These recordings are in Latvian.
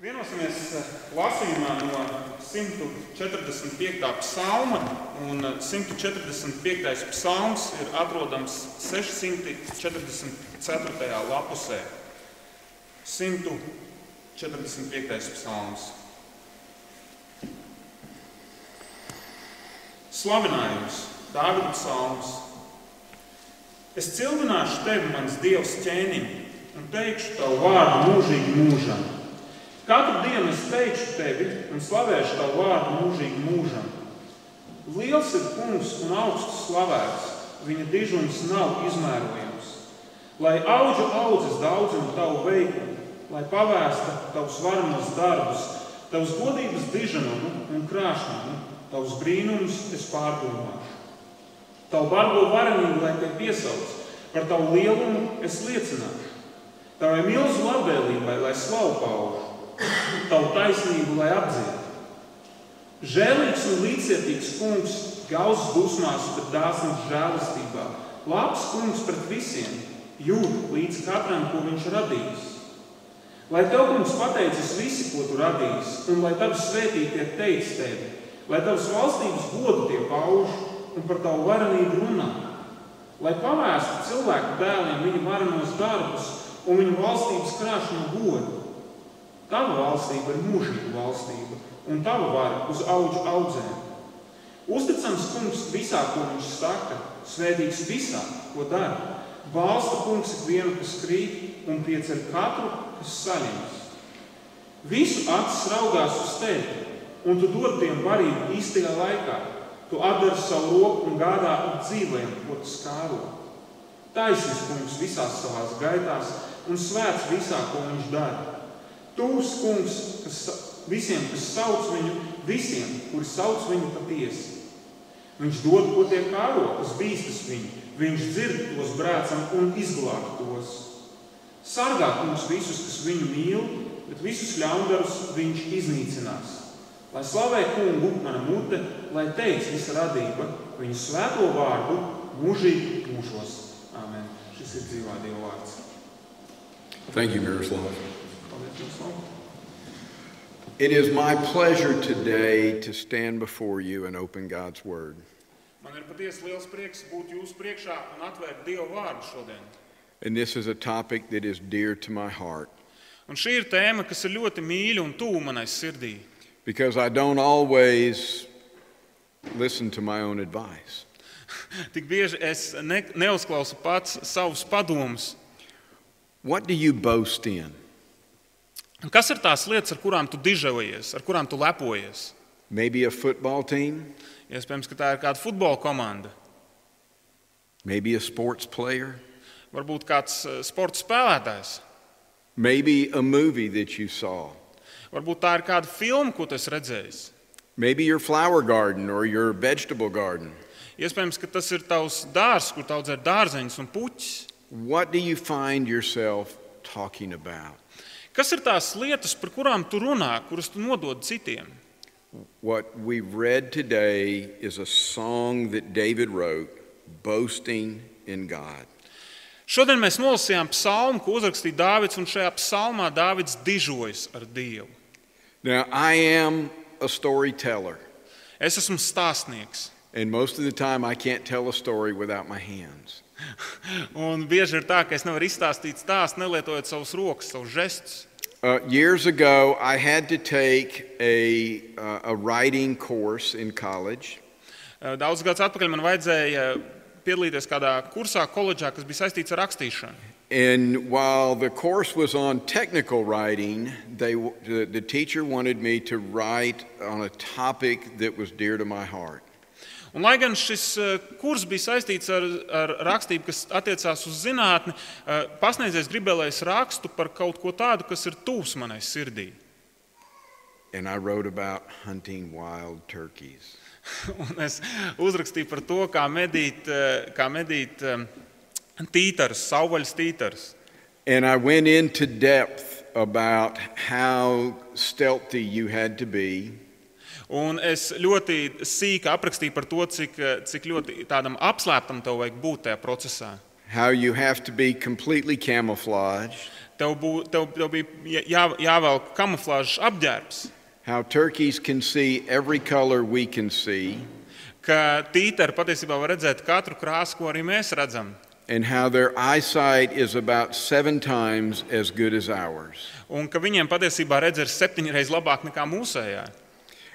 Vienosimies eh, lasījumā no 145. psalma, un eh, 145. psalms ir atrodams 644. lapusē. 145. psalms. Slavinājums, Dārvidas psalms. Es cildināšu tevi, mans dievs, ķēniņ, un teikšu tavu vārdu mūžīgi mūžam. Katru dienu es teikšu tevi un slavēšu tavu vārdu mūžīgi mūžam. Liels ir kungs un augsts slavēts, viņa dižums nav izmērojams. Lai augu audzes daudzumu tavu veikumu, lai pavēsta tavus varmos darbus, tavus godības diženumu un krāšņumu, tavus brīnumus es pārdomāšu. Tavu bargo varenību, lai te piesauc, par tavu lielumu es liecināšu. Tavai milzu labvēlībai, lai slavu paužu, tavu taisnību, lai apdziedātu. Žēlīgs un līdzcietīgs kungs, gauss dusmās, bet dāsns žēlastībā. Labs kungs pret visiem, jūt līdz katram, ko viņš radījis. Lai tev, kungs, pateicis visi, ko tu radījis, un lai tavs svētīti tiek teikts tevi, lai tavs valstības godu tiek pauž un par tavu varenību runā. Lai pavēstu cilvēku dēliem viņa varenos darbus un viņa valstības krāšņu godu. Tava valstība ir mūžīga valstība, un tava vara uz augu audzēm. Uzticams kungs visā, ko viņš saka, svētīgs visā, ko dara. Balsta kungs ikvienu, kas krīt un piecer katru, kas saņems. Visu acis raugās uz tevi, un tu dod tiem varību īstajā laikā. Tu atdari savu roku un gādā ar dzīvēm, ko tu skāro. Taisnīgs kungs visās savās gaitās un svēts visā, ko viņš dara. Tūs kungs kas, sa- visiem, kas sauc viņu, visiem, kuri sauc viņu patiesi. Viņš dod, ko tie kāro, kas bīstas viņu. Viņš dzird tos brācam un izglāb tos. Sargā kungs visus, kas viņu mīl, bet visus ļaundarus viņš iznīcinās. Lai slavē kungu, mana mute, lai teic visa radība, viņa svēto vārdu mūžīgi mūžos. Amen. Šis ir dzīvā Dieva vārds. Thank you, Miroslav. Paldies, jums, Lūk. It is my pleasure today to stand before you and open God's Word. Man ir patiesi liels prieks būt jūsu priekšā un atvērt Dieva vārdu šodien. And this is a topic that is dear to my heart Un šī ir tēma, kas ir ļoti mīļa un tuvu manai sirdī. because I don't always listen to my own advice. Tik bieži es ne, neuzklausu pats savus padomus. What do you boast in? Kas ir tās lietas, ar kurām tu dižojies, ar kurām tu lepojies? Maybe a football team? Iespējams, ka tā ir kāda futbola komanda, Maybe a sports player? varbūt kāds eh, sporta spēlētājs, Maybe a movie that you saw? varbūt tā ir kāda filma, ko tu esi redzējis. Maybe your flower garden or your vegetable garden? Iespējams, ka tas ir tavs dārzs, kur audzē dārzeņus un puķus. What do you find yourself talking about? Kas ir tās lietas, par kurām tu runā, kuras tu nodod citiem? What we read today is a song that David wrote, Boasting in God. Šodien mēs nolasījām psalmu, ko uzrakstīja Dāvids, un šajā psalmā Dāvids dižojas ar Dievu. Now, I am a storyteller, Es esmu stāstnieks, and most of the time I can't tell a story without my hands. un bieži ir tā, ka es nevaru izstāstīt stāstu, nelietojot savus rokas, savus žestus. Uh, years ago, I had to take a, uh, a writing course in college, Daudz Eh, gadus atpakaļ man vajadzēja piedalīties kādā kursā, koledžā, kas bija saistīts ar rakstīšanu. and while the course was on technical writing, they, w- the, the teacher wanted me to write on a topic that was dear to my heart. Un, lai gan šis eh, kurs bija saistīts ar, ar rakstību, kas attiecās uz zinātni, eh, pasniedzējs gribēja, lai es rakstu par kaut ko tādu, kas ir tūs manai sirdī. and I wrote about hunting wild turkeys. Un es uzrakstīju par to, kā medīt, eh, kā medīt eh, tītarus, sauvaļas tītarus. And I went into depth about how stealthy you had to be Un es ļoti sīki aprakstīju par to, cik, eh, cik ļoti tādam apslēptam tev vajag būt tajā procesā. how you have to be completely camouflaged, Tev, bū, tev, tev bija jā- jā, jāvelk kamuflāžas apģērbs, how turkeys can see every color we can see, ka tītara patiesībā var redzēt katru krāsu, ko arī mēs redzam. and how their eyesight is about seven times as good as ours, Un ka viņiem patiesībā redzes ir septiņreiz labāk nekā mūsējā.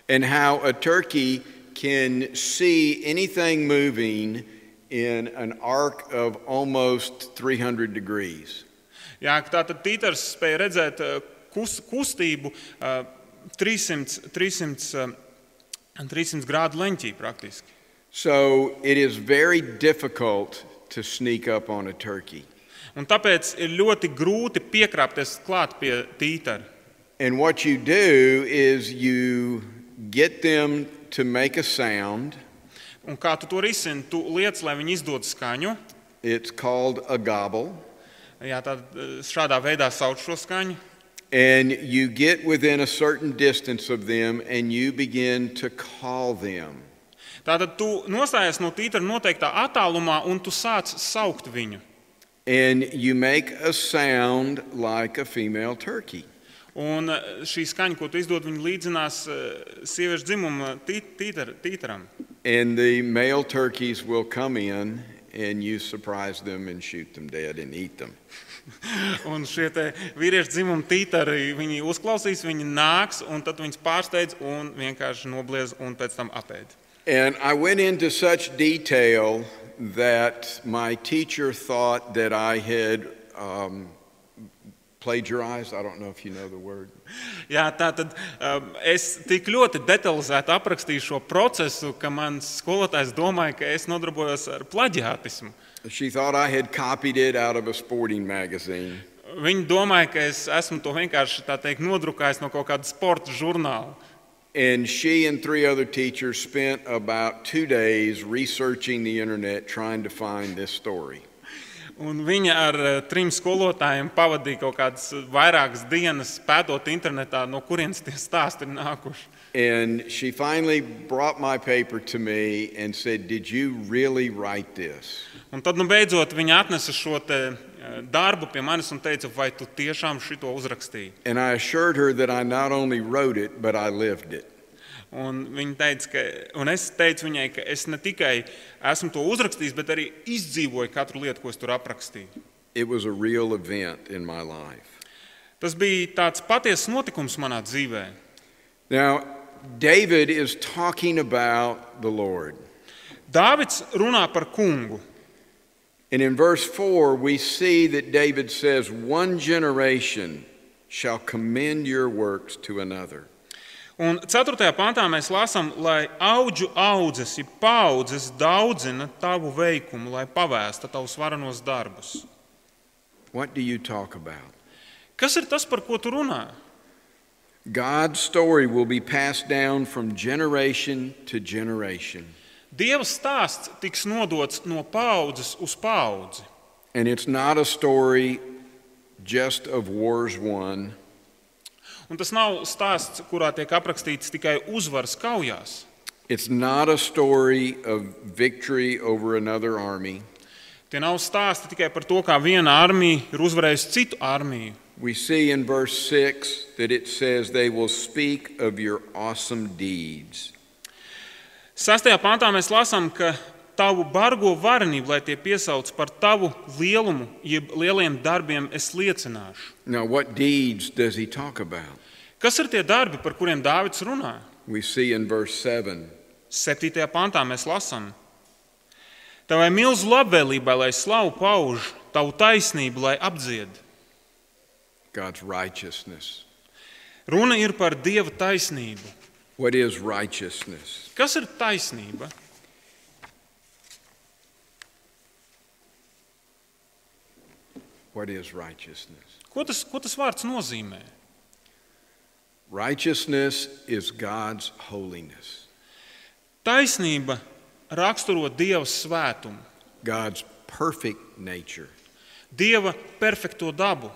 and how a turkey can see anything moving in an arc of almost 300 degrees. Jā, ka tā tad tītars spēja redzēt eh, kus, kustību eh, 300, 300, eh, 300 grādu leņķī praktiski. So it is very difficult to sneak up on a turkey. Un tāpēc ir ļoti grūti piekrāpties klāt pie tītara. And what you do is you get them to make a sound. Un kā tu to risini? Tu liec, lai viņi izdod skaņu. It's called a gobble. Jā, tā, eh, šādā veidā sauc šo skaņu. And you get within a certain distance of them and you begin to call them. Tātad tu nostājies no tītara noteiktā attālumā un tu sāc saukt viņu. And you make a sound like a female turkey. Un eh, šī skaņa, ko tu izdod, viņa līdzinās eh, sieviešu dzimuma tī- tītara- tītaram. And the male turkeys will come in and you surprise them and shoot them dead and eat them. Un šie te vīriešu dzimuma tītari, viņi uzklausīs, viņi nāks, un tad viņus pārsteidz un vienkārši nobliez un pēc tam apēd. And I went into such detail that my teacher thought that I had um, plagiarized. I don't know if you know the word. Jā, tā tad um, es tik ļoti detalizēti aprakstīju šo procesu, ka mans skolotājs domāja, ka es nodarbojos ar plaģiātismu. She thought I had copied it out of a sporting magazine. Viņi domāja, ka es esmu to vienkārši tā teikt, nodrukājis no kaut kāda sporta žurnāla. And she and three other teachers spent about two days researching the internet trying to find this story. Un viņa ar eh, trim skolotājiem pavadīja kaut kādas vairākas dienas pētot internetā, no kurienes tie stāsti ir nākuši. And she finally brought my paper to me and said, Did you really write this? Un tad, nu, beidzot, viņa atnesa šo te, eh, darbu pie manis un teica, vai tu tiešām šito uzrakstīji. And I assured her that I not only wrote it, but I lived it. Un, viņa teica, ka, un es teicu viņai, ka es ne tikai esmu to uzrakstījis, bet arī izdzīvoju katru lietu, ko es tur aprakstīju. It was a real event in my life. Tas bija tāds patiesas notikums manā dzīvē. Now, David is talking about the Lord. Dāvids runā par kungu. And in verse 4, we see that David says, One generation shall commend your works to another. Un 4. pantā mēs lasām, lai augu audzes, ja paudzes daudzina tavu veikumu, lai pavēsta tavus varenos darbus. What do you talk about? Kas ir tas, par ko tu runā? God's story will be passed down from generation to generation. Dieva stāsts tiks nodots no paudzes uz paudzi. And it's not a story just of wars won, Un tas nav stāsts, kurā tiek aprakstīts tikai uzvaras kaujās. it's not a story of victory over another army. Tie nav stāsti tikai par to, kā viena armija ir uzvarējusi citu armiju. We see in verse 6 that it says, They will speak of your awesome deeds. Sastajā pantā mēs lasām, ka tavu bargo varenību, lai tie piesauc par tavu lielumu, jeb lieliem darbiem, es liecināšu. Now, what deeds does he talk about? Kas ir tie darbi, par kuriem Dāvids runā? We see in verse 7 Septītajā pantā mēs lasām, Tavai milzu labvēlībai, lai slavu pauž, tavu taisnību, lai apdzied. God's righteousness. Runa ir par Dieva taisnību. What is righteousness? Kas ir taisnība? What is righteousness? Ko tas, ko tas vārds nozīmē? Righteousness is God's holiness, Taisnība raksturo Dieva svētumu, God's perfect nature. Dieva perfekto dabu.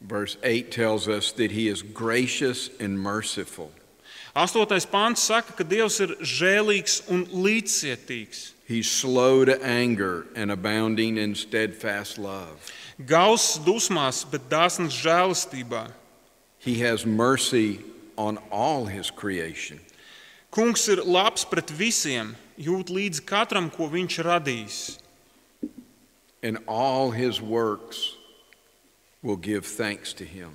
Verse 8 tells us that he is gracious and merciful. Astotais pāns saka, ka Dievs ir žēlīgs un līdzcietīgs, He's slow to anger and abounding in steadfast love. gauss dusmās, bet dāsns žēlastībā. He has mercy on all His creation. Kungs ir labs pret visiem, jūt līdzi katram, ko viņš radīs. and all his works will give thanks to him.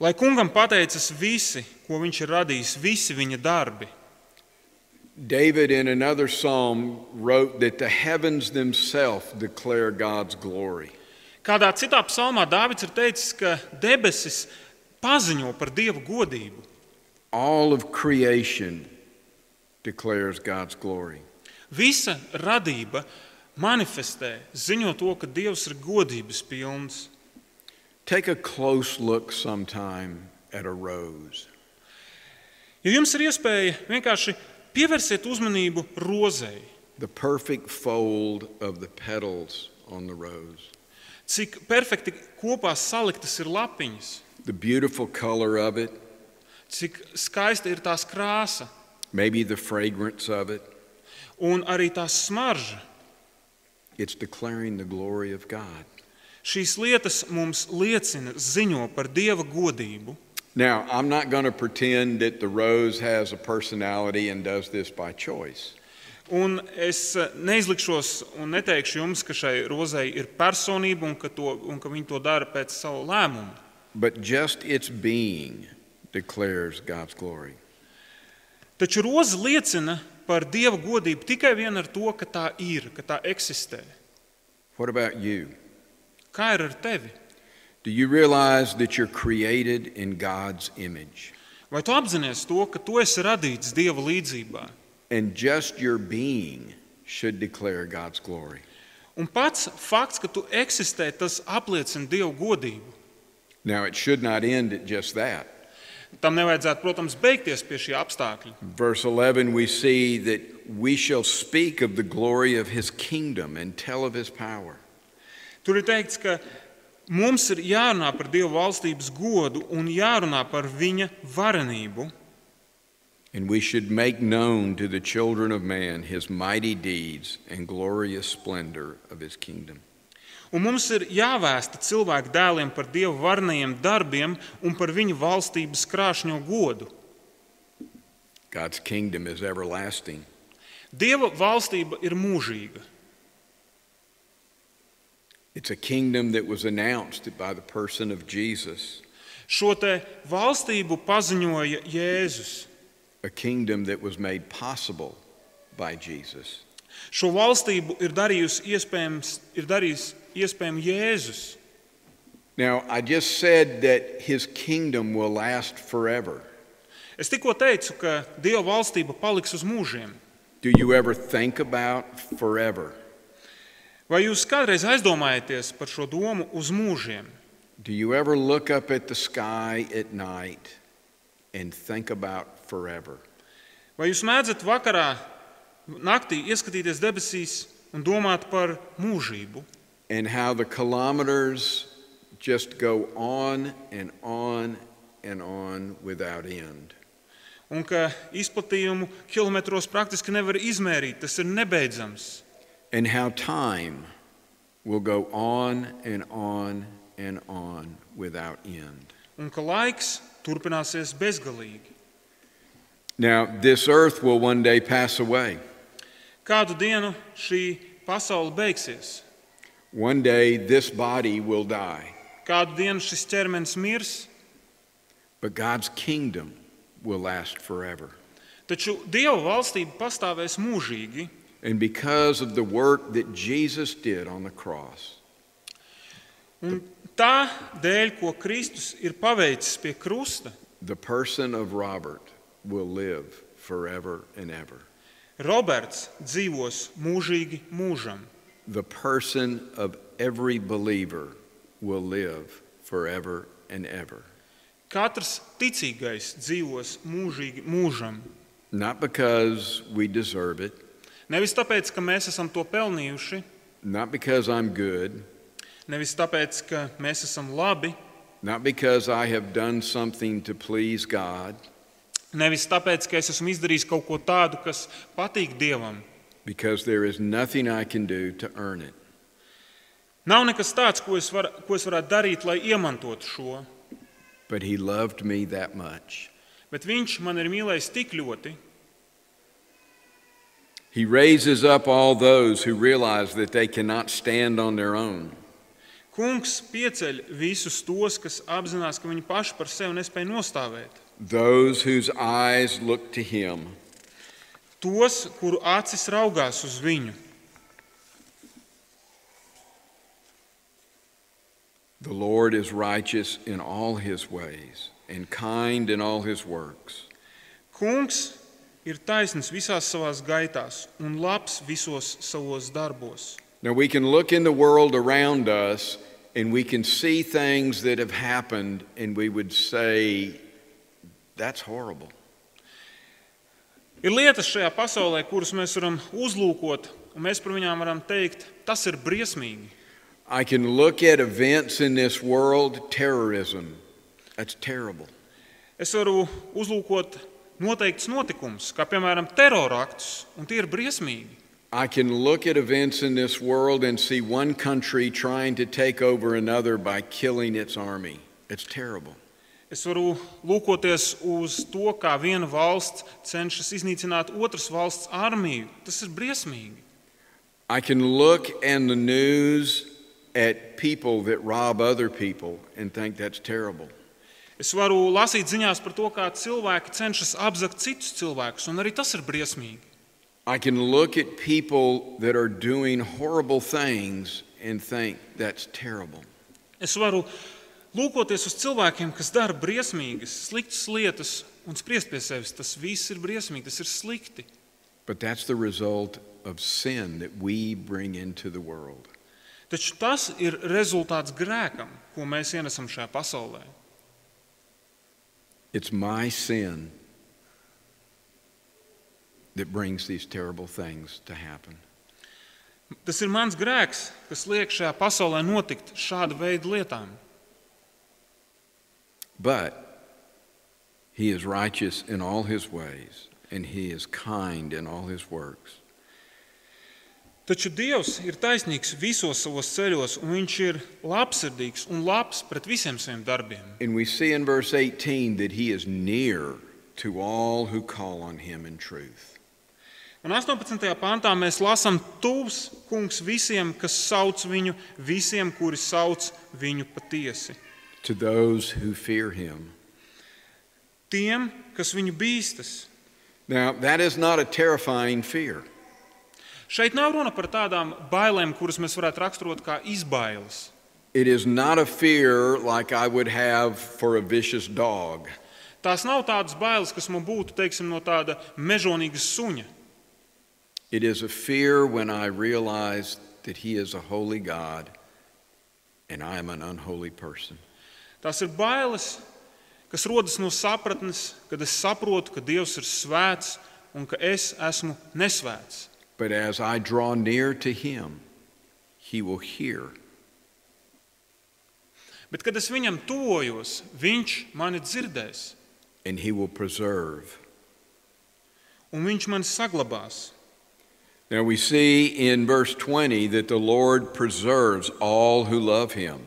Lai kungam pateicas visi, ko viņš ir radījis, visi viņa darbi. David, in another psalm, wrote that the heavens themselves declare God's glory. Kādā citā psalmā Dārvids ir teicis, ka debesis paziņo par Dieva godību. All of creation declares God's glory. Visa radība manifestē, ziņo to, ka Dievs ir godības pilns. Take a close look sometime at a rose. Ja jums ir iespēja vienkārši pievērsiet uzmanību rozei, The perfect fold of the petals on the rose, cik perfekti kopā saliktas ir lapiņas, the beautiful color of it, cik skaista ir tās krāsa maybe the fragrance of it. un arī tās smarža. It's declaring the glory of God. Šīs lietas mums liecina, ziņo par Dieva godību. Now, I'm not going to pretend that the rose has a personality and does this by choice. Un es eh, neizlikšos un neteikšu jums, ka šai rozei ir personība un ka, to, un ka viņi to dara pēc savu lēmumu. But just its being declares God's glory. Taču roze liecina par Dieva godību tikai vien ar to, ka tā ir, ka tā eksistē. What about you? Kā ir ar tevi? Do you realize that you're created in God's image? Vai tu apzinājies to, ka tu esi radīts Dieva līdzjūtībā? And just your being should declare God's glory. Un pats fakts, ka tu eksistē, tas apliecina Dieva godību. Now, it should not end at just that. Tam nevajadzētu, protams, beigties pie šī apstākļa. Verse 11, we see that we shall speak of the glory of his kingdom and tell of his power. Tur ir teikts, ka mums ir jārunā par Dieva valstības godu un jārunā par viņa varenību. And we should make known to the children of man his mighty deeds and glorious splendor of his kingdom. Un mums ir jāvēsta cilvēku dēliem par Dieva varenajiem darbiem un par viņa valstības krāšņo godu. God's kingdom is everlasting. Dieva valstība ir mūžīga. It's a kingdom that was announced by the person of Jesus, Šo te valstību paziņoja Jēzus. a kingdom that was made possible by Jesus. Šo valstību ir darījusi iespējams, ir darījis iespējams Jēzus. Now, I just said that his kingdom will last forever. Es tikko teicu, ka Dieva valstība paliks uz mūžiem. Do you ever think about forever? Vai jūs kādreiz aizdomājaties par šo domu uz mūžiem? Do you ever look up at the sky at night and think about forever? Vai jūs mēdzat vakarā, naktī ieskatīties debesīs un domāt par mūžību? and how the kilometers just go on and on and on without end. Un ka izplatījumu kilometros praktiski nevar izmērīt, tas ir nebeidzams. And how time will go on and on and on without end. Un ka laiks turpināsies bezgalīgi. Now, this earth will one day pass away. Kādu dienu šī pasaule beigsies? One day, this body will die. Kādu dienu šis ķermenis mirs, But God's kingdom will last forever. taču Dieva valstība pastāvēs mūžīgi. And because of the work that Jesus did on the cross, Un tā dēļ, ko Kristus ir paveicis pie krusta, the person of Robert will live forever and ever. Roberts dzīvos mūžīgi mūžam. the person of every believer will live forever and ever. Katrs ticīgais dzīvos mūžīgi mūžam. Not because we deserve it, Nevis tāpēc, ka mēs esam to pelnījuši, not because I'm good, nevis tāpēc, ka mēs esam labi, not because I have done something to please God, Nevis tāpēc, ka es esmu izdarījis kaut ko tādu, kas patīk Dievam. because there is nothing I can do to earn it. Nav nekas tāds, ko es, var, ko es varētu darīt, lai iemantotu šo. But He loved me that much. Bet Viņš man ir mīlējis tik ļoti, He raises up all those who realize that they cannot stand on their own. Kungs pieceļ visus tos, kas apzinās, ka viņi paši par sevi nespēja nostāvēt. Those whose eyes look to Him. Tos, kuru acis raugās uz viņu. The Lord is righteous in all His ways and kind in all His works. Kungs ir taisnīgs visās savās gaitās un labs visos savos darbos. Now we can look in the world around us and we can see things that have happened and we would say, that's horrible. Ir lietas šajā pasaulē, kuras mēs varam uzlūkot, un mēs par viņām varam teikt, tas ir briesmīgi. I can look at events in this world, terrorism. That's terrible. Es varu uzlūkot noteikts notikums, kā piemēram teroraktus, un tie ir briesmīgi. I can look at events in this world and see one country trying to take over another by killing its army. It's terrible. Es varu lūkoties uz to, kā viena valsts cenšas iznīcināt otras valsts armiju. Tas ir briesmīgi. I can look in the news at people that rob other people and think that's terrible. Es varu lasīt ziņās par to, kā cilvēki cenšas apzakt citus cilvēkus, un arī tas ir briesmīgi. I can look at people that are doing horrible things and think that's terrible. Es varu lūkoties uz cilvēkiem, kas dara briesmīgas, sliktas lietas, un spriest pie sevis, tas viss ir briesmīgi, tas ir slikti. But that's the result of sin that we bring into the world. Taču tas ir rezultāts grēkam, ko mēs ienesam šajā pasaulē. It's my sin that brings these terrible things to happen. Tas ir mans grēks, kas liek šajā pasaulē notikt šāda veida lietām. But he is righteous in all his ways, and he is kind in all his works. Taču Dievs ir taisnīgs visos savos ceļos, un Viņš ir labsirdīgs un labs pret visiem saviem darbiem. And we see in verse 18 that he is near to all who call on him in truth. Un 18. pantā mēs lasām, Tūps kungs visiem, kas sauc viņu, visiem, kuri sauc viņu patiesi. To those who fear him. Tiem, kas viņu bīstas. Now, that is not a terrifying fear. Šeit nav runa par tādām bailēm, kuras mēs varētu raksturot kā izbailes. It is not a fear like I would have for a vicious dog. Tās nav tādas bailes, kas man būtu teiksim, no tāda mežonīga suņa. It is a fear when I realize that He is a holy God and I am an unholy person. Tās ir bailes, kas rodas no sapratnes, kad es saprotu, ka Dievs ir svēts un ka es esmu nesvēts. But as I draw near to Him, He will hear. Bet, kad es viņam tuvojos, viņš mani dzirdēs, And he will preserve. un viņš mani saglabās. Now we see in verse 20 that the Lord preserves all who love him.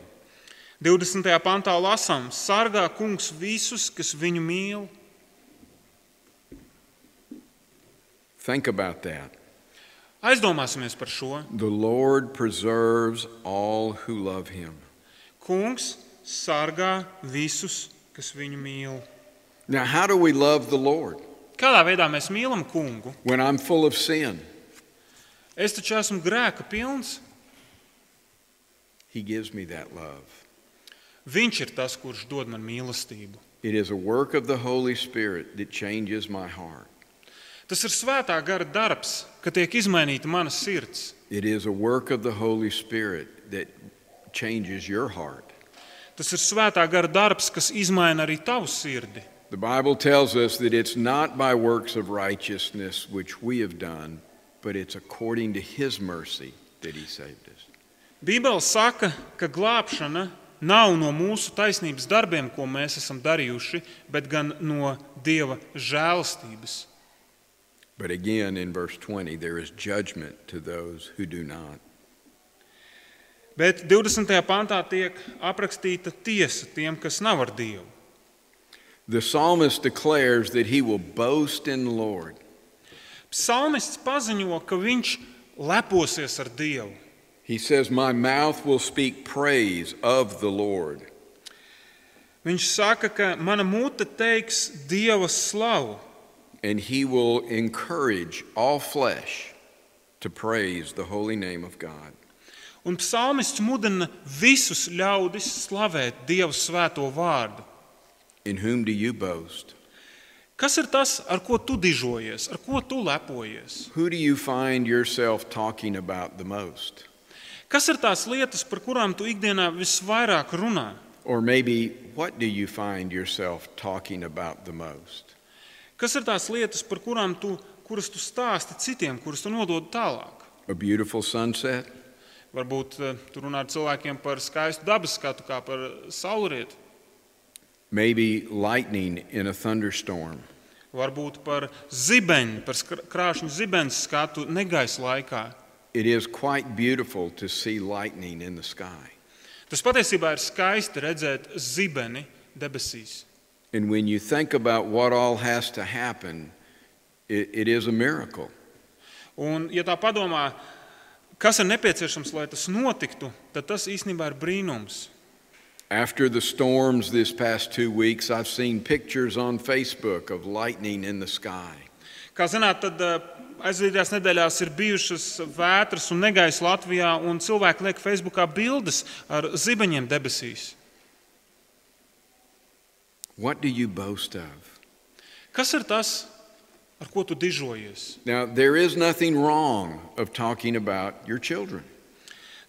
20. pantā lasām: Sargā kungs visus, kas viņu mīl. Think about that. Aizdomāsimies par šo. The Lord preserves all who love him. Kungs sargā visus, kas viņu mīl. Now, how do we love the Lord Kādā veidā mēs mīlam kungu? when I'm full of sin? Es taču esmu grēka pilns. He gives me that love. Viņš ir tas, kurš dod man mīlestību. It is a work of the Holy Spirit that changes my heart. Tas ir svētā gara darbs, ka tiek izmainīta mana sirds. It is a work of the Holy Spirit that changes your heart. Tas ir svētā gara darbs, kas izmaina arī tavu sirdi. The Bible tells us that it's not by works of righteousness which we have done, but it's according to His mercy that He saved us. Bībele saka, ka glābšana nav no mūsu taisnības darbiem, ko mēs esam darījuši, bet gan no Dieva žēlastības. But again, in verse 20, there is judgment to those who do not. Bet 20. pantā tiek aprakstīta tiesa tiem, kas nav ar Dievu. The psalmist declares that he will boast in the Lord. Psalmists paziņo, ka viņš leposies ar Dievu. He says, My mouth will speak praise of the Lord. Viņš saka, ka mana mute teiks Dieva slavu, and he will encourage all flesh to praise the holy name of God. un psalmists mudina visus ļaudis slavēt Dieva svēto vārdu. In whom do you boast? Kas ir tas, ar ko tu dižojies, ar ko tu lepojies? Who do you find yourself talking about the most? Kas ir tās lietas, par kurām tu ikdienā visvairāk runā? Or maybe what do you find yourself talking about the most? Kas ir tās lietas, par kurām tu, kuras tu stāsti citiem, kuras tu nodod tālāk? A beautiful sunset? Varbūt eh, tu runā ar cilvēkiem par skaistu dabas skatu, kā par saulrietu, Maybe lightning in a thunderstorm? varbūt par zibeni, par skr- krāšņu zibeni skatu negaisa laikā. It is quite beautiful to see lightning in the sky. Tas patiesībā ir skaisti redzēt zibeni debesīs. And when you think about what all has to happen, it, it is a miracle. Un, ja tā padomā, kas ir nepieciešams, lai tas notiktu, tad tas īstenībā ir brīnums. After the storms this past two weeks, I've seen pictures on Facebook of lightning in the sky. Kā zināt, tad eh, aizvadītajās nedēļās ir bijušas vētras un negaiss Latvijā, un cilvēki liek Facebookā bildes ar zibeņiem debesīs. What do you boast of? Kas ir tas, ar ko tu dižojies? Now, there is nothing wrong of talking about your children.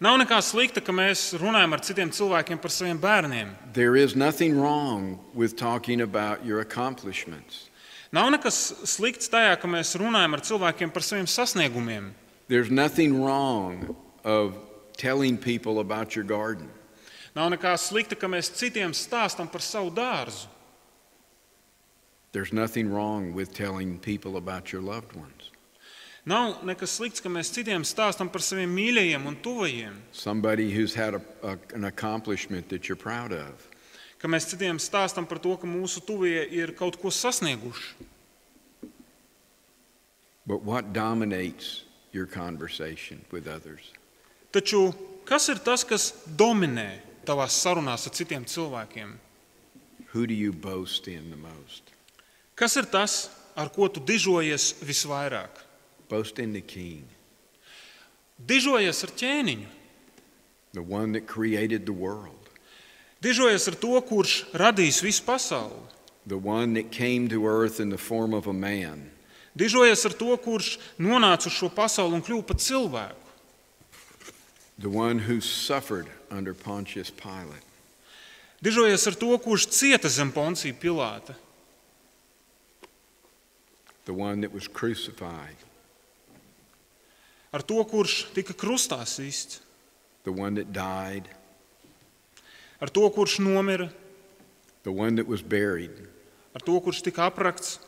Nav nekā slikta, ka mēs runājam ar citiem cilvēkiem par saviem bērniem. There is nothing wrong with talking about your accomplishments. Nav nekas slikts tajā, ka mēs runājam ar cilvēkiem par saviem sasniegumiem. There's nothing wrong of telling people about your garden. Nav nekā slikta, ka mēs citiem stāstam par savu dārzu. There's nothing wrong with telling people about your loved ones. Nav nekas slikts, ka mēs citiem stāstam par saviem mīļajiem un tuvajiem. Somebody who's had a, a, an accomplishment that you're proud of. ka mēs citiem stāstām par to, ka mūsu tuvie ir kaut ko sasnieguši. But what dominates your conversation with others? Taču kas ir tas, kas dominē tavās sarunās ar citiem cilvēkiem? Who do you boast in the most? Kas ir tas, ar ko tu dižojies visvairāk? Boast in the King, Dižojies ar ķēniņu, the one that created the world, dižojies ar to, kurš radīs visu pasauli, the one that came to earth in the form of a man, dižojies ar to, kurš nonāca uz šo pasauli un kļuva par cilvēku, the one who suffered under Pontius Pilate, dižojies ar to, kurš cieta zem Poncija Pilāta, the one that was crucified, ar to, kurš tika krustā sists, the one that died, ar to, kurš nomira, the one that was buried ar to, kurš tika aprakts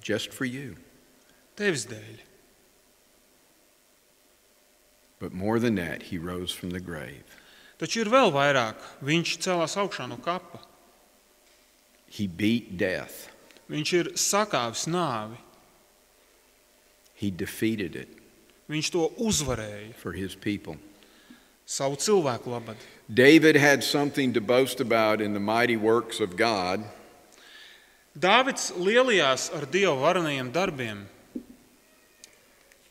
just for you. tevis dēļ. But more than that, he rose from the grave. Taču ir vēl vairāk. Viņš celās augšā no kapa. He beat death, Viņš ir sakāvis nāvi. he defeated it Viņš to uzvarēja for his people. savu cilvēku labad. David had something to boast about in the mighty works of God, Dāvids lielījās ar dievu varenajiem darbiem.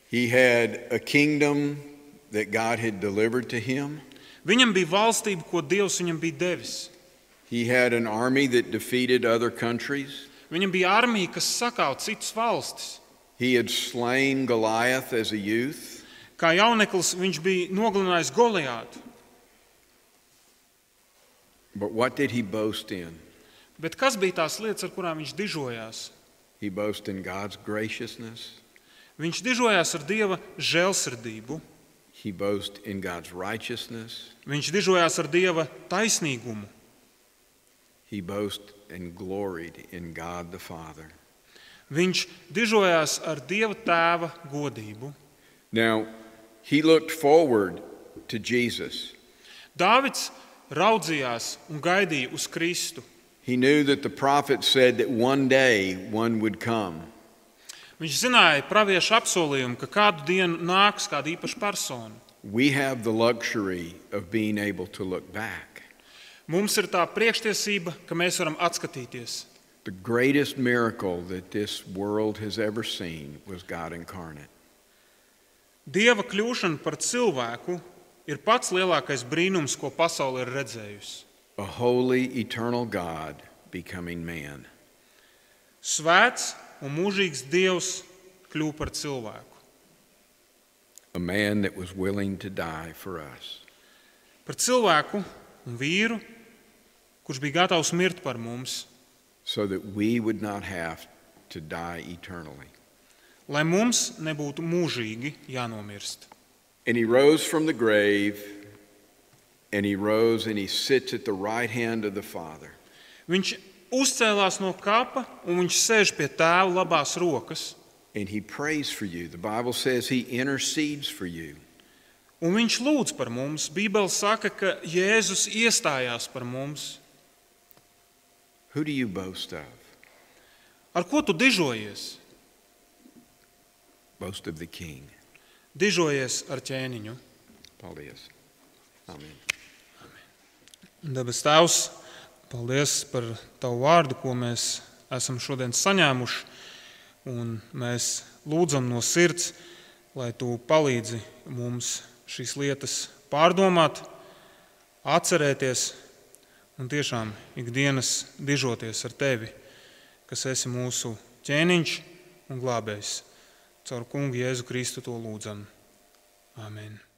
he had a kingdom that God had delivered to him. Viņam bija valstība, ko dievs viņam bija devis. He had an army that defeated other countries. Viņam bija armija, kas sakāva citas valstis. He had slain Goliath as a youth. Kā jauneklis viņš bija nogalinājis Goliātu. But what did he boast in? Bet kas bija tās lietas, ar kurām viņš dižojās? He boasted in God's graciousness, Viņš dižojās ar dieva žēlsirdību, He boasts in God's righteousness. Viņš dižojās ar Dieva taisnīgumu. He boasts and gloried in God the Father. Viņš dižojās ar Dieva tēva godību. Now, he looked forward to Jesus. Dāvids raudzījās un gaidīja uz Kristu. He knew that the prophet said that one day one would come. Viņš zināja praviešu apsolījumu, ka kādu dienu nāks kāda īpaša persona. We have the luxury of being able to look back. Mums ir tā priekštiesība, ka mēs varam atskatīties. The greatest miracle that this world has ever seen was God incarnate. Dieva kļūšana par cilvēku ir pats lielākais brīnums, ko pasaule ir redzējusi. A holy, eternal God becoming man. Svēts un mūžīgs Dievs kļūst par cilvēku, A man that was willing to die for us. par cilvēku un vīru, kurš bija gatavs mirt par mums, so that we would not have to die eternally. lai mums nebūtu mūžīgi jānomirst. And he rose from the grave, and he rose and he sits at the right hand of the Father. Viņš uzcēlās no kapa un viņš sēž pie tēva labās rokas, And he prays for you. The Bible says he intercedes for you. un viņš lūdz par mums. Bībele saka, ka Jēzus iestājās par mums. Who do you boast of? Ar ko tu dižojies? Boast of the King. Dižojies ar ķēniņu. Paldies. Amen. Dabas Tēvs, paldies par Tavu vārdu, ko mēs esam šodien saņēmuši. Un mēs lūdzam no sirds, lai Tu palīdzi mums šīs lietas pārdomāt, atcerēties un tiešām ikdienas dižoties ar Tevi, kas esi mūsu ķēniņš un glābējs. Caur kungu Jēzu Kristu to lūdzam. Amen.